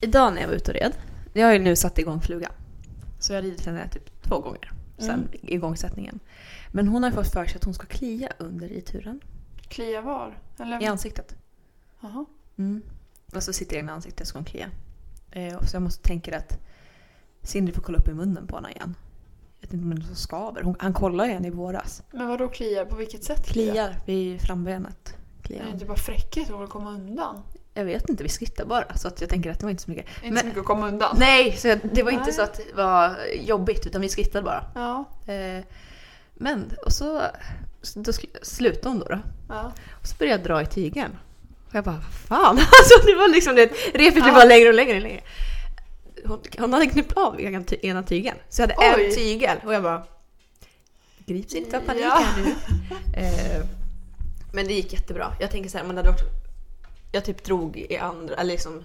Idag när jag var ute och red, jag har ju nu satt igång flugan. Så jag har ridit henne typ två gånger sen Mm. igångsättningen. Men hon har ju fått för sig att hon ska klia under i turen. Klia var? Eller? I ansiktet. Jaha. Mm. Och så sitter jag i ansiktet ska hon klia. Eh, och så jag måste tänka att Sindri får kolla upp i munnen på henne igen. Jag vet inte om det är något som skaver. Hon, han kollade ju henne i våras. Men vadå klia? På vilket sätt Kliar vid frambenet. Kliar. Är det inte bara fräckhet att komma undan? Jag vet inte, vi skrittar bara. Så att jag tänker att det var inte så mycket. Inte Men- så mycket att komma undan. Nej, så jag- det var inte Nej. så att det var jobbigt utan vi skrittade bara. Ja, Eh, men, och så, så då sl- slutade hon då, då. ja. Och så började jag dra i tygeln. Och jag bara, vad fan? Alltså det var liksom det, repet blev Ja. bara längre och längre och längre. Hon, hon hade knäppt av ena ty- ena tygeln. Så jag hade Oj. en tygel och jag bara, grips inte av panik Ja. här nu. Eh, men det gick jättebra. Jag tänker så här, om man hade varit, jag typ drog i andra, eller liksom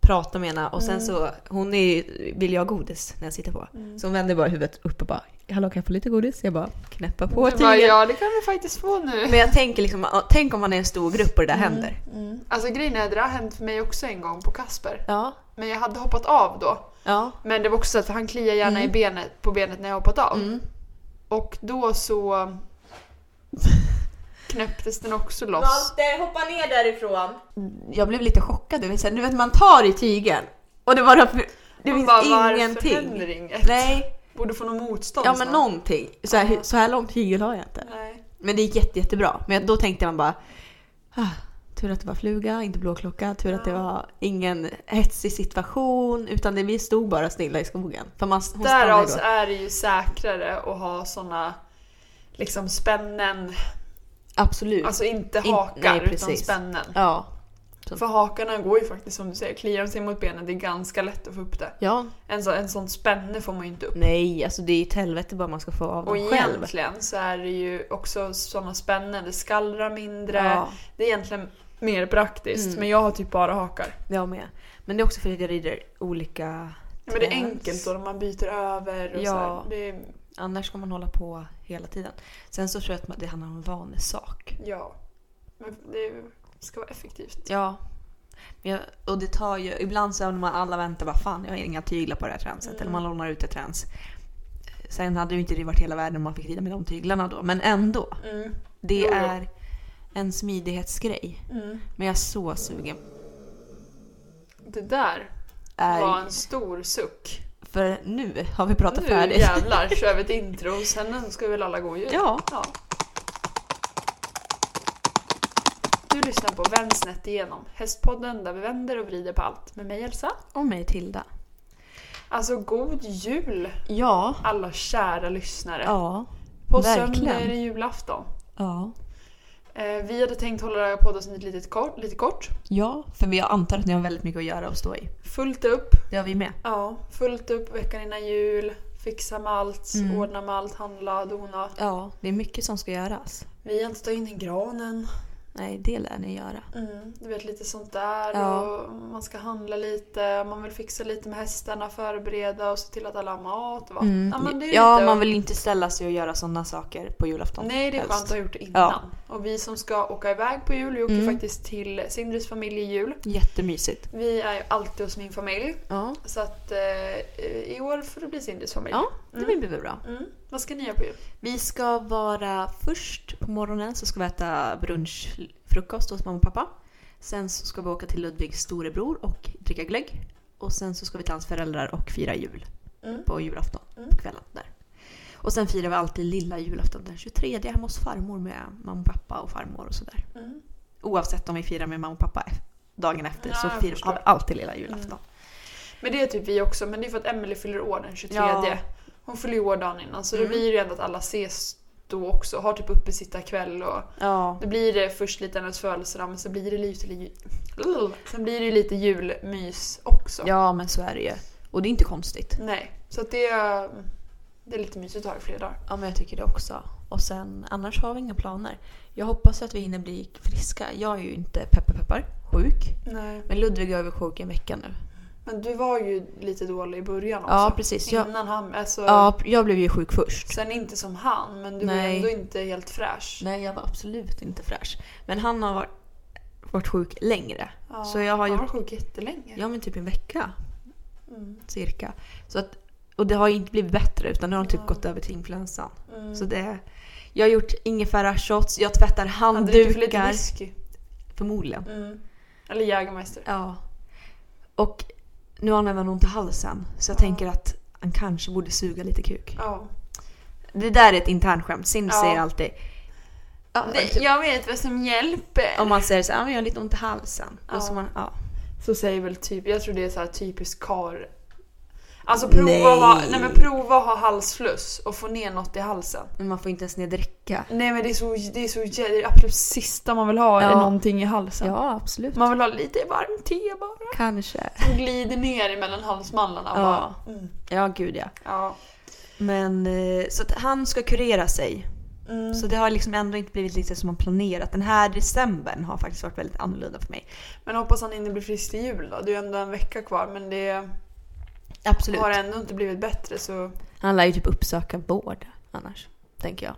pratade med henne och Mm. sen så, hon är, ju- vill ju ha godis när jag sitter på. Så hon vände bara huvudet upp och bara “Hallå kan jag få lite godis?” Jag bara knäppa på Du Mm. bara, tygen. ja, det kan vi faktiskt få nu. Men jag tänker liksom, ja, tänk om man är en stor grupp och det där Mm. händer. Alltså grejen är, det där har hänt för mig också en gång på Kasper. Ja, Men jag hade hoppat av då. ja. Men det var också så att han kliar gärna i benet, på benet när jag hoppat av. Mm. Och då så knäpptes den också loss. Malte, hoppa ner därifrån! Mm, Jag blev lite chockad, det vill säga, du vet man tar i tygen och det bara... Det Man finns bara, Varför händer ingenting. inget? Nej, Borde få något motstånd ja men snart. någonting. Så här, Ja. så här långt hygel har jag inte. Nej. Men det gick jätte, jättebra. Men då tänkte man bara... Ah, tur att det var fluga, inte blåklocka. Tur att det Ja. var ingen hetsig situation. Utan det, vi stod bara stilla i skogen. För man, hon stannade Därav ju då. så är det ju säkrare att ha såna liksom spännen, Absolut. alltså inte Mm. In- hakar nej, utan precis. spännen. ja. För hakarna går ju faktiskt som du säger, kliar de sig mot benen det är ganska lätt att få upp det. ja. En, så, en sån spänne får man ju inte upp. Nej, alltså det är ett helvete bara man ska få av Och dem själv. egentligen så är det ju också såna spännen, det skallrar mindre. Ja, Det är egentligen mer praktiskt Mm. men jag har typ bara hakar. jag med. Men det är också för att jag rider olika Men det är träd. enkelt då, man byter över och Ja. så här. Det är, Annars ska man hålla på hela tiden. Sen så tror jag att man- det handlar om vanesak. ja. Men det ska vara effektivt. Ja. Men jag, och det tar ju, ibland så när man alla väntar bara fan jag har inga tyglar på det här tränset. Mm. Eller man lånar ut ett träns. Sen hade ju inte det varit hela världen om man fick rida med de tyglarna då. Men ändå. Mm. Det Jo, jo. är en smidighetsgrej. Mm. Men jag är så sugen. Det där Är, var en stor suck. För nu har vi pratat Nu färdigt. jävlar kör vi ett intro och sen ska vi väl alla gå ju. Ja. ja. Du lyssnar på Vänd snett igenom, hästpodden där vi vänder och vrider på allt med mig Elsa. Och mig Tilda. Alltså god jul Ja. alla kära lyssnare. Ja. på verkligen. söndag är det julafton. Ja. Eh, vi hade tänkt hålla det här poddavsnittet lite kort, lite kort. Ja, för jag antar att ni har väldigt mycket att göra och stå i. Fullt upp. Det har vi med. Ja, fullt upp veckan innan jul. Fixa med allt, Mm. ordna med allt, handla, dona. Ja, det är mycket som ska göras. Vi har inte tagit in i granen. Nej, det lär ni göra. Mm, du vet lite sånt där Ja. och man ska handla lite, man vill fixa lite med hästarna, förbereda och se till att alla har mat. Va? Mm. Ja, Ja, men det är lite- man vill ju inte ställa sig och göra sådana saker på julafton. Nej, det är helst. skönt att ha gjort det innan. Och vi som ska åka iväg på jul, vi åker Mm. faktiskt till Sindres familj i jul. Jättemysigt. Vi är ju alltid hos min familj, Ja, så att eh, i år får det bli Sindres familj. ja det blir väl bra. Mm. Vad ska ni göra på jul? Vi ska vara först på morgonen så ska vi äta brunchfrukost hos mamma och pappa. Sen så ska vi åka till Ludvigs storebror och dricka glögg. Och sen så ska vi till hans föräldrar och fira jul. Mm. på julafton Mm. på kvällen där. Och sen firar vi alltid lilla julafton den 23 hemma hos farmor med mamma och pappa och farmor och sådär. Mm. Oavsett om vi firar med mamma och pappa eff- dagen efter Ja, så jag firar förstår. har vi alltid lilla julafton. Men det är typ vi också, men det är för att Emily fyller år den 23. Ja. Hon fyller ju år dagen innan så Mm. det blir ju ändå att alla ses då också. Har typ uppe sitta kväll och Ja. då blir det först lite hennes födelsedag men sen blir det lite, lite, sen blir det ju lite julmys också. ja, men så är det ju. Och det är inte konstigt. Nej, så att det, är- det är lite mysigt att ha i flera dagar. Ja, men jag tycker det också. Och sen annars har vi inga planer. Jag hoppas att vi hinner bli friska. Jag är ju inte peppar peppar sjuk. Nej. Men Ludvig har varit sjuk i en vecka nu. Men du var ju lite dålig i början också. Ja, precis. Jag, Innan han, alltså, ja, jag blev ju sjuk först. Sen inte som han, men du var Nej. ändå inte helt fräsch. Nej, jag var absolut inte fräsch. Men han har varit- varit sjuk längre. Ja, Så jag har jag gjort, var sjuk jättelänge. ja men typ en vecka Mm. cirka. Så att, och det har ju inte blivit bättre utan nu har de typ Ja. gått över till influensan. Mm. Så det, jag har gjort ingefärashots, jag tvättar Han dricker för lite handdukar. whisky. Förmodligen. Mm. Eller Jägermeister. Ja. Och nu använder han ont i halsen så jag Ja. tänker att han kanske borde suga lite kuk. Ja. Det där är ett internt skämt. Sim Ja. säger alltid ja, typ, jag vet vad som hjälper. om man säger så här, "Ja, men jag har lite ont i halsen. Ja. Och så man, ja. Så säger väl typ, jag tror det är så här typiskt kar. Alltså prova, Att ha, Nej. nej men prova att ha halsfluss och få ner något i halsen. Men man får inte ens ner dricka. Nej men det är så, det är så jä- det är absolut sista man vill ha Ja. är någonting i halsen. Ja, absolut. Man vill ha lite varmt te bara. Kanske. Som glider ner mellan halsmandlarna Ja. bara. Mm. Ja, gud ja. Ja. Men eh, så att han ska kurera sig. Mm. Så det har liksom ändå inte blivit lite som man planerat. Den här decembern har faktiskt varit väldigt annorlunda för mig. Men hoppas han inte blir frisk till jul då. Det är ju ändå en vecka kvar men det Absolut. har ändå inte blivit bättre så... Han lär ju typ uppsöka vård annars, tänker jag.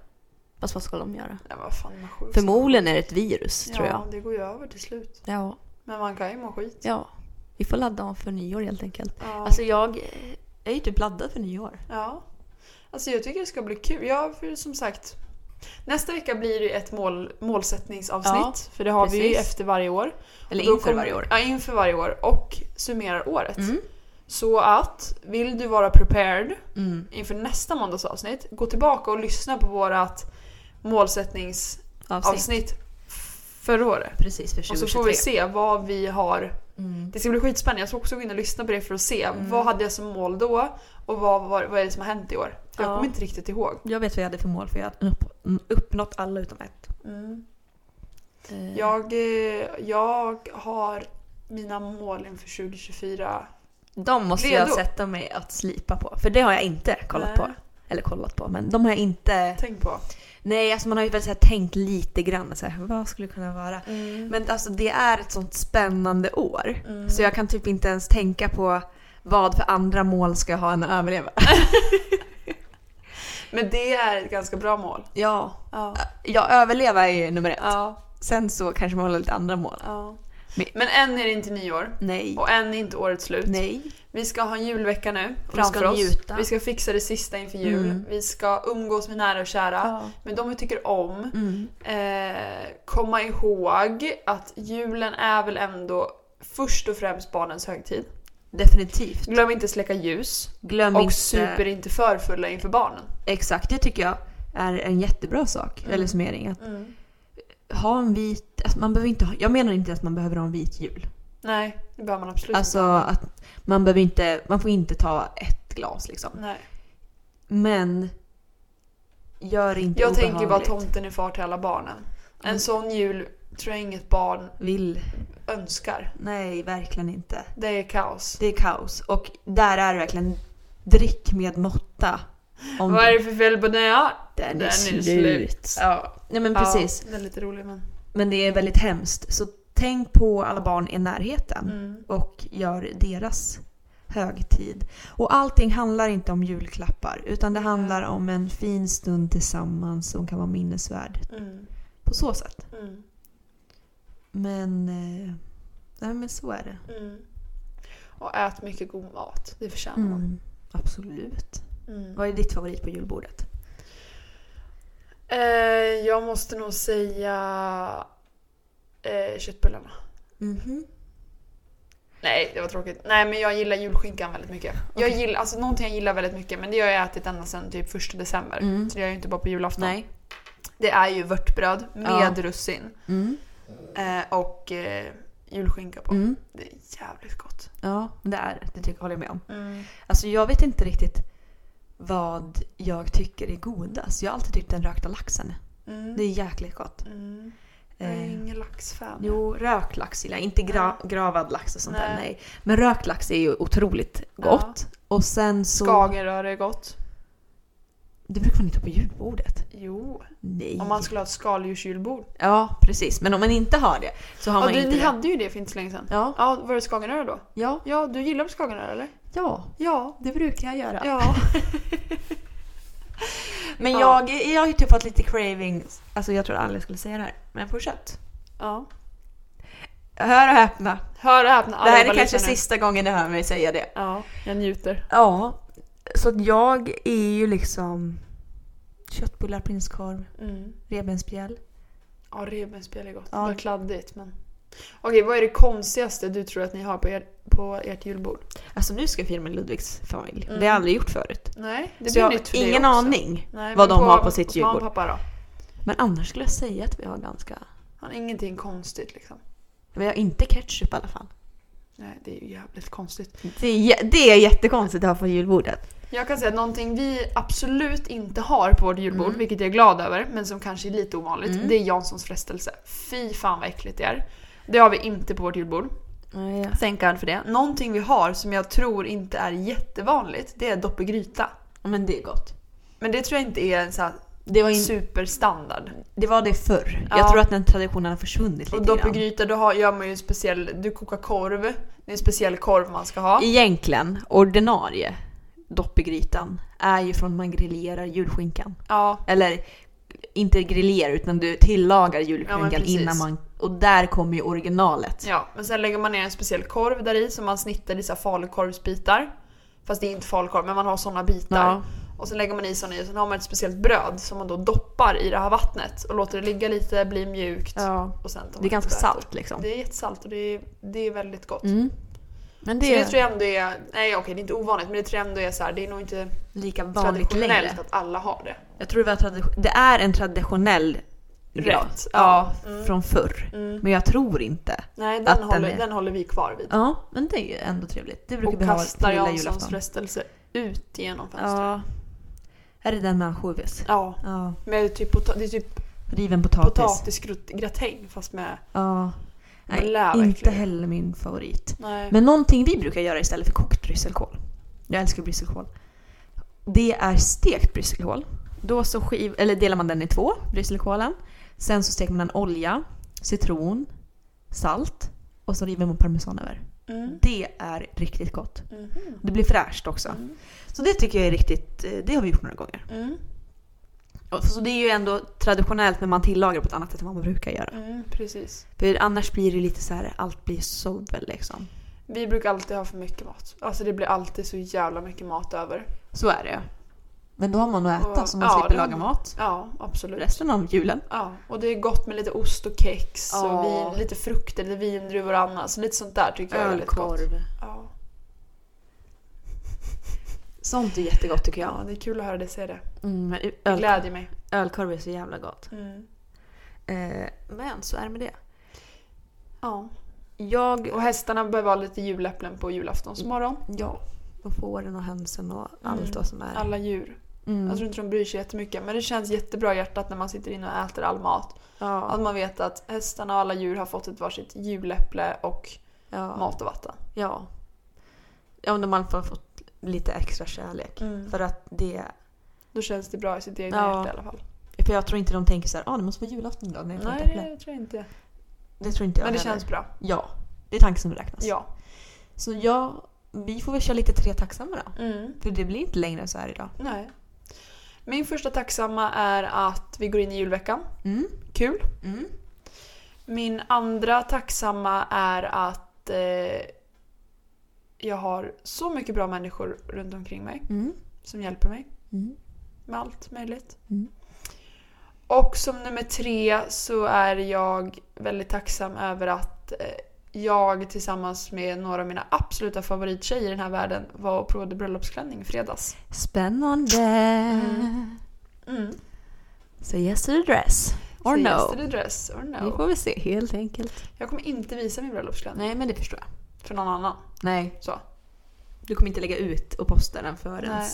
Fast vad ska de göra? Nej vad fan man sjuk. Förmodligen är det ett virus, ja, tror jag. det går ju över till slut. Ja. Men man kan ju må skit. ja. Vi får ladda om för nyår helt enkelt. Ja. Alltså jag, eh, jag är ju typ laddad för nyår. Ja. Alltså jag tycker det ska bli kul. Ja, för som sagt. Nästa vecka blir det ju ett mål, målsättningsavsnitt. Ja, för det har vi ju precis. efter varje år. Eller Och då inför kommer- varje år. Ja, inför varje år. Och summerar året. Mm. Så att, vill du vara prepared Mm. inför nästa måndagsavsnitt, gå tillbaka och lyssna på vårat målsättningsavsnitt Avsnitt. förra året. Precis, för 2023. Och så får vi se vad vi har. Mm. Det ska bli skitspännande. Jag ska också gå in och lyssna på det för att se Mm. vad hade jag som mål då och vad, vad, vad är det som har hänt i år. För Jag Ja. kommer inte riktigt ihåg. Jag vet vad jag hade för mål för jag hade upp- uppnått alla utom ett. Eh, Jag, eh, jag har mina mål inför 2024. De måste Redo. jag sätta mig att slipa på. För det har jag inte kollat Nej. på. Eller kollat på, men de har jag inte... Tänk på. Nej, alltså man har ju väl så här tänkt lite grann så här, vad skulle det kunna vara? Men alltså det är ett sånt spännande år. Mm. Så jag kan typ inte ens tänka på vad för andra mål ska jag ha än att överleva. Men det är ett ganska bra mål. Ja, Ja. jag överlever är ju nummer ett. Ja, Sen så kanske man har lite andra mål. ja. Men- Men än är det inte nyår. Nej. Och än är inte årets slut. Nej. Vi ska ha en julvecka nu vi framför ska oss. njuta. Vi ska fixa det sista inför jul. Mm. Vi ska umgås med nära och kära. Men de vi tycker om. Mm. Eh, komma ihåg att julen är väl ändå först och främst barnens högtid. Definitivt. Glöm inte släcka ljus. Glöm Och inte... super inte för fulla inför barnen. Exakt, det tycker jag är en jättebra sak. Mm. Eller summering. Att ha en vit... Alltså man behöver inte ha, jag menar inte att man behöver ha en vit jul. Nej, det behöver man absolut Alltså att man behöver inte... Man får inte ta ett glas liksom. inte. Nej. Men... Gör det inte Jag tänker bara obehagligt. tomten är far till alla barnen. En Mm. sån jul tror jag inget barn Vill. önskar. Nej, verkligen inte. Det är kaos. Det är kaos. Och där är det verkligen drick med måtta. Om Vad är det för fel på den? Ja, den är den är slut. slut. ja. Nej men ja, precis. Den är lite rolig men. Men det är väldigt hemskt. Så tänk på alla barn i närheten. Mm. och gör deras högtid. Och allting handlar inte om julklappar utan det handlar om en fin stund tillsammans som kan vara minnesvärd Mm. på så sätt. Mm. Men, eh, nej, men så är det. Mm. Och ät mycket god mat. Det förtjänar man. Mm, absolut. Mm. Vad är ditt favorit på julbordet? Eh, jag måste nog säga eh, köttbullarna. Mhm. Nej, det var tråkigt. Nej, men jag gillar julskinkan väldigt mycket. Jag Okej. gillar, alltså någonting jag gillar väldigt mycket, men det har jag ätit ända sedan typ första december. Mm. Så det gör jag ju inte bara på julafton. Nej. Det är ju vörtbröd med Ja. russin Mm. eh, och eh, julskinka på. Mm. Det är jävligt gott. Ja, men det är det. Det tycker jag håller jag med om. Alltså jag vet inte riktigt vad jag tycker är godast. Jag har alltid tyckt den rökta laxen. Mm. Det är jäkligt gott. Mm. Jag är Eh, ingen laxfan. Jo, rökt lax gillar jag. Inte gra- gravad lax och sånt där, Nej. nej. Men rökt lax är ju otroligt gott. Och sen så... Skagenröra är gott. Det brukar man inte ha på julbordet. Jo, Nej. om man skulle ha ett skaldjursjulbord. Ja, precis. Men om man inte har det så har Ja, man du, inte ni det. hade ju det för inte så länge sedan. Ja, Ja, var det skagenröra då? ja, Ja, du gillar väl skagenröra eller? ja. Ja. Det brukar jag göra. Ja. Men Ja. jag, jag har ju typ fått lite craving. Alltså jag tror aldrig jag skulle säga det här. Men jag får kött. ja. Hör och häpna. Hör och häpna. Det här alla är kanske lyssnare. sista gången ni hör mig säga det. Ja, jag njuter. Ja, så att jag är ju liksom köttbullar, prinskorv, Mm. revbensspjäll. Ja, revbensspjäll är gott. Ja. Det var kladdigt men... Okej, vad är det konstigaste du tror att ni har på, er, på ert julbord? Alltså nu ska jag filma Ludvigs familj. Mm. Det har jag aldrig gjort förut. Nej, det så jag har blir nytt för dig ingen också. aning Nej, vad men de har på sitt hos mamma och julbord. pappa då? Men annars skulle jag säga att vi har ganska... Han har ingenting konstigt liksom. Vi har inte ketchup i alla fall. Nej, det är ju jävligt konstigt. Det är, jä- det är jättekonstigt att ha på julbordet. Jag kan säga att någonting vi absolut inte har på vårt julbord, vilket jag är glad över, men som kanske är lite ovanligt, det är Janssons frestelse. Fy fan vad äckligt det är. Det har vi inte på vårt julbord. Thank God för det. Någonting vi har som jag tror inte är jättevanligt, det är dopp i gryta. Men det är gott. Men det tror jag inte är en så här Det var, in, superstandard. det, var det förr. Ja. Jag tror att den traditionen har försvunnit Och lite dopp i grann. gryta, då har, gör man ju en speciell, du kokar korv. Det är en speciell korv man ska ha. Egentligen, ordinarie dopp i grytan är ju från man grillerar julskinkan. Ja, Eller inte grillerar utan du tillagar Ja, julskinkan men precis. innan man... Och där kommer ju originalet. Ja, men sen lägger man ner en speciell korv där i som man snittar i så här falukorvsbitar. Fast det är inte falukorv, men man har såna bitar. Ja. Och sen lägger man i såna i och sen har man ett speciellt bröd som man då doppar i det här vattnet och låter det ligga lite, bli mjukt. Ja. Och sen tar man Det är ganska lite och äter. salt liksom. Det är jättesalt och det är, det är väldigt gott. Mm. Men Så det det är tror jag ändå är, nej okej det är inte ovanligt men det tror jag ändå är så här, det är nog inte lika vanligt traditionellt längre. att alla har det. Jag tror det, var tradi- det är en traditionell Rätt. Ja, Ja. Mm. från förr. Mm. Men jag tror inte. Nej, den Att den håller, är- den håller vi kvar vid. Ja, men det är ju ändå trevligt. Det brukar Och vi ha på kastar lilla Janssons julafton. frestelse ut genom fönstret. Ja. Här är den med ansjovis. ja. Ja. Med typ pota- det är typ Riven potatis. potatisgratäng fast med... Ja. Nej, Blä, inte verkligen. heller min favorit. Nej. Men någonting vi brukar göra istället för kokt brysselkål. Jag älskar brysselkål. Det är stekt brysselkål. Då så skiv, eller delar man den i två, brysselkålen. Sen så steker man en olja, citron, salt och så river man parmesan över. Mm. Det är riktigt gott. Mhm. Det blir fräscht också. Mm. Så det tycker jag är riktigt, eh, det har vi gjort några gånger. Mm. Och Så det är ju ändå traditionellt men man tillagar på ett annat sätt än vad man brukar göra. Mm, precis. För annars blir det lite så här, allt blir sovel liksom. Vi brukar alltid ha för mycket mat. Alltså det blir alltid så jävla mycket mat över. Så är det. Men då har man att äta Och- så man ja, slipper det- laga mat. Ja, absolut. Resten av julen. Ja, och det är gott med lite ost och kex Ja. och vin, lite frukter, lite vindruvor och annat. Så lite sånt där tycker jag är väldigt gott. Ja. Sånt är jättegott tycker jag. ja, det är kul att höra dig säga det. Mm, men Det öl, glädjer mig. ölkorv är så jävla gott. Mm. Eh, men så är det med det. Ja. Jag... Mm. Och hästarna behöver ha lite juläpplen på julaftonsmorgon. Ja. Och fåren och hönsen och Mm. allt vad som är. Alla djur. Mm. Alltså, Jag tror inte de bryr sig jättemycket men det känns jättebra i hjärtat när man sitter inne och äter all mat. Ja. Att man vet att hästarna och alla djur har fått ett varsitt juläpple och Ja. mat och vatten. Ja. Ja, om de i alla fall fått lite extra kärlek. Mm. För att det... Då känns det bra i sitt egna Mm. Ja. hjärta i alla fall. För jag tror inte de tänker så här, ah, det måste vara julafton idag när jag får ett Nej, äpple." det tror jag inte. Det tror inte jag Men det heller. Alltså. känns bra. Ja. Det är tanken som räknas. Ja. Så ja, vi får väl köra lite tre tacksamma då. Mm. För det blir inte längre än så här idag. Nej. Min första tacksamma är att vi går in i julveckan. Mm. Kul. Mm. Min andra tacksamma är att eh, jag har så mycket bra människor runt omkring mig Mm. som hjälper mig. Mm. med allt möjligt. Mm. Och som nummer tre så är jag väldigt tacksam över att eh, jag tillsammans med några av mina absoluta favorittjejer i den här världen var och provade bröllopsklänning i fredags. Spännande! Mm. Mm. Så yes to the dress. Or Så no. yesterday dress or Vi no. får väl se helt enkelt. Jag kommer inte visa min bröllopsklänning Nej men det förstår jag. för någon annan. Nej. Så. Du kommer inte lägga ut och posta den förrän Nej.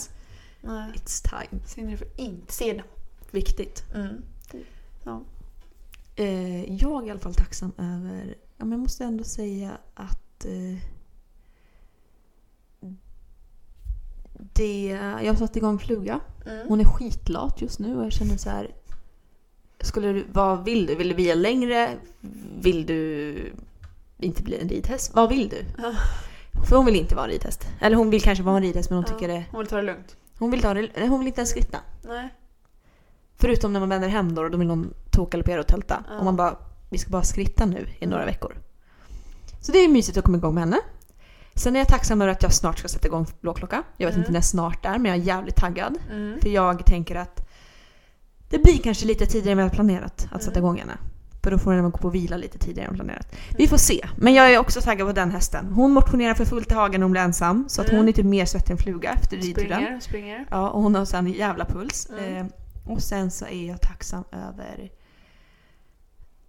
Nej. it's time. Så ni får inte se den. Viktigt. Mm. Eh, jag är i alla fall tacksam över, ja men jag måste ändå säga att eh, det, jag satte igång fluga. Mm. Hon är skitlat just nu och jag känner så här. Skulle du, vad vill du? Vill du bli längre? Vill du inte bli en ridhäst? Vad vill du? Ja. För hon vill inte vara en ridhäst. Eller hon vill kanske vara en ridhäst men hon Ja. tycker det... Hon vill ta det lugnt. Hon vill, ta det, nej, hon vill inte ens skritta. Nej. Förutom när man vänder hem då, då vill hon tåggaloppera och tälta. Ja. Och man bara, vi ska bara skritta nu i några veckor. Så det är mysigt att komma igång med henne. Sen är jag tacksam över att jag snart ska sätta igång Blåklocka. Jag vet Mm. inte när snart är men jag är jävligt taggad. Mm. För jag tänker att det blir kanske lite tidigare än vi hade planerat att sätta Mm. igång henne. För då får den gå på och vila lite tidigare än planerat. Vi får se. Men jag är också taggad på den hästen. Hon motionerar för fullt i hagen när hon blir ensam. Så att Mm. hon är typ mer svettig än fluga efter ridturen. Springer, springer. Ja, och hon har sån jävla puls. Mm. Eh, och sen så är jag tacksam över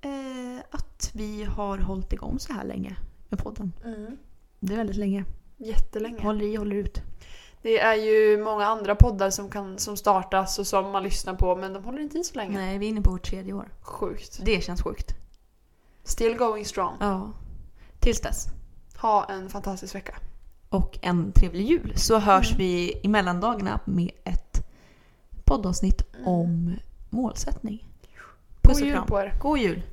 eh, att vi har hållit igång så här länge med podden. Mm. Det är väldigt länge. Jättelänge. Håller i, håller ut. Det är ju många andra poddar som, kan, som startas och som man lyssnar på men de håller inte i så länge. Nej, vi är inne på vårt tredje år. Sjukt. Det känns sjukt. Still going strong. Ja. Tills dess. Ha en fantastisk vecka. Och en trevlig jul. Så hörs Mm. vi i mellandagarna med ett poddavsnitt om målsättning. Puss Mm. God och jul kram. på er. God jul!